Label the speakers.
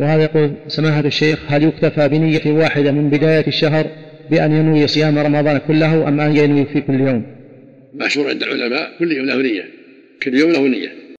Speaker 1: وهذا يقول سماحة الشيخ هل يكتفى بنية واحدة من بداية الشهر بأن ينوي صيام رمضان كله أم أن ينوي في كل يوم؟
Speaker 2: مشهور عند العلماء كل يوم له نية كل يوم له نية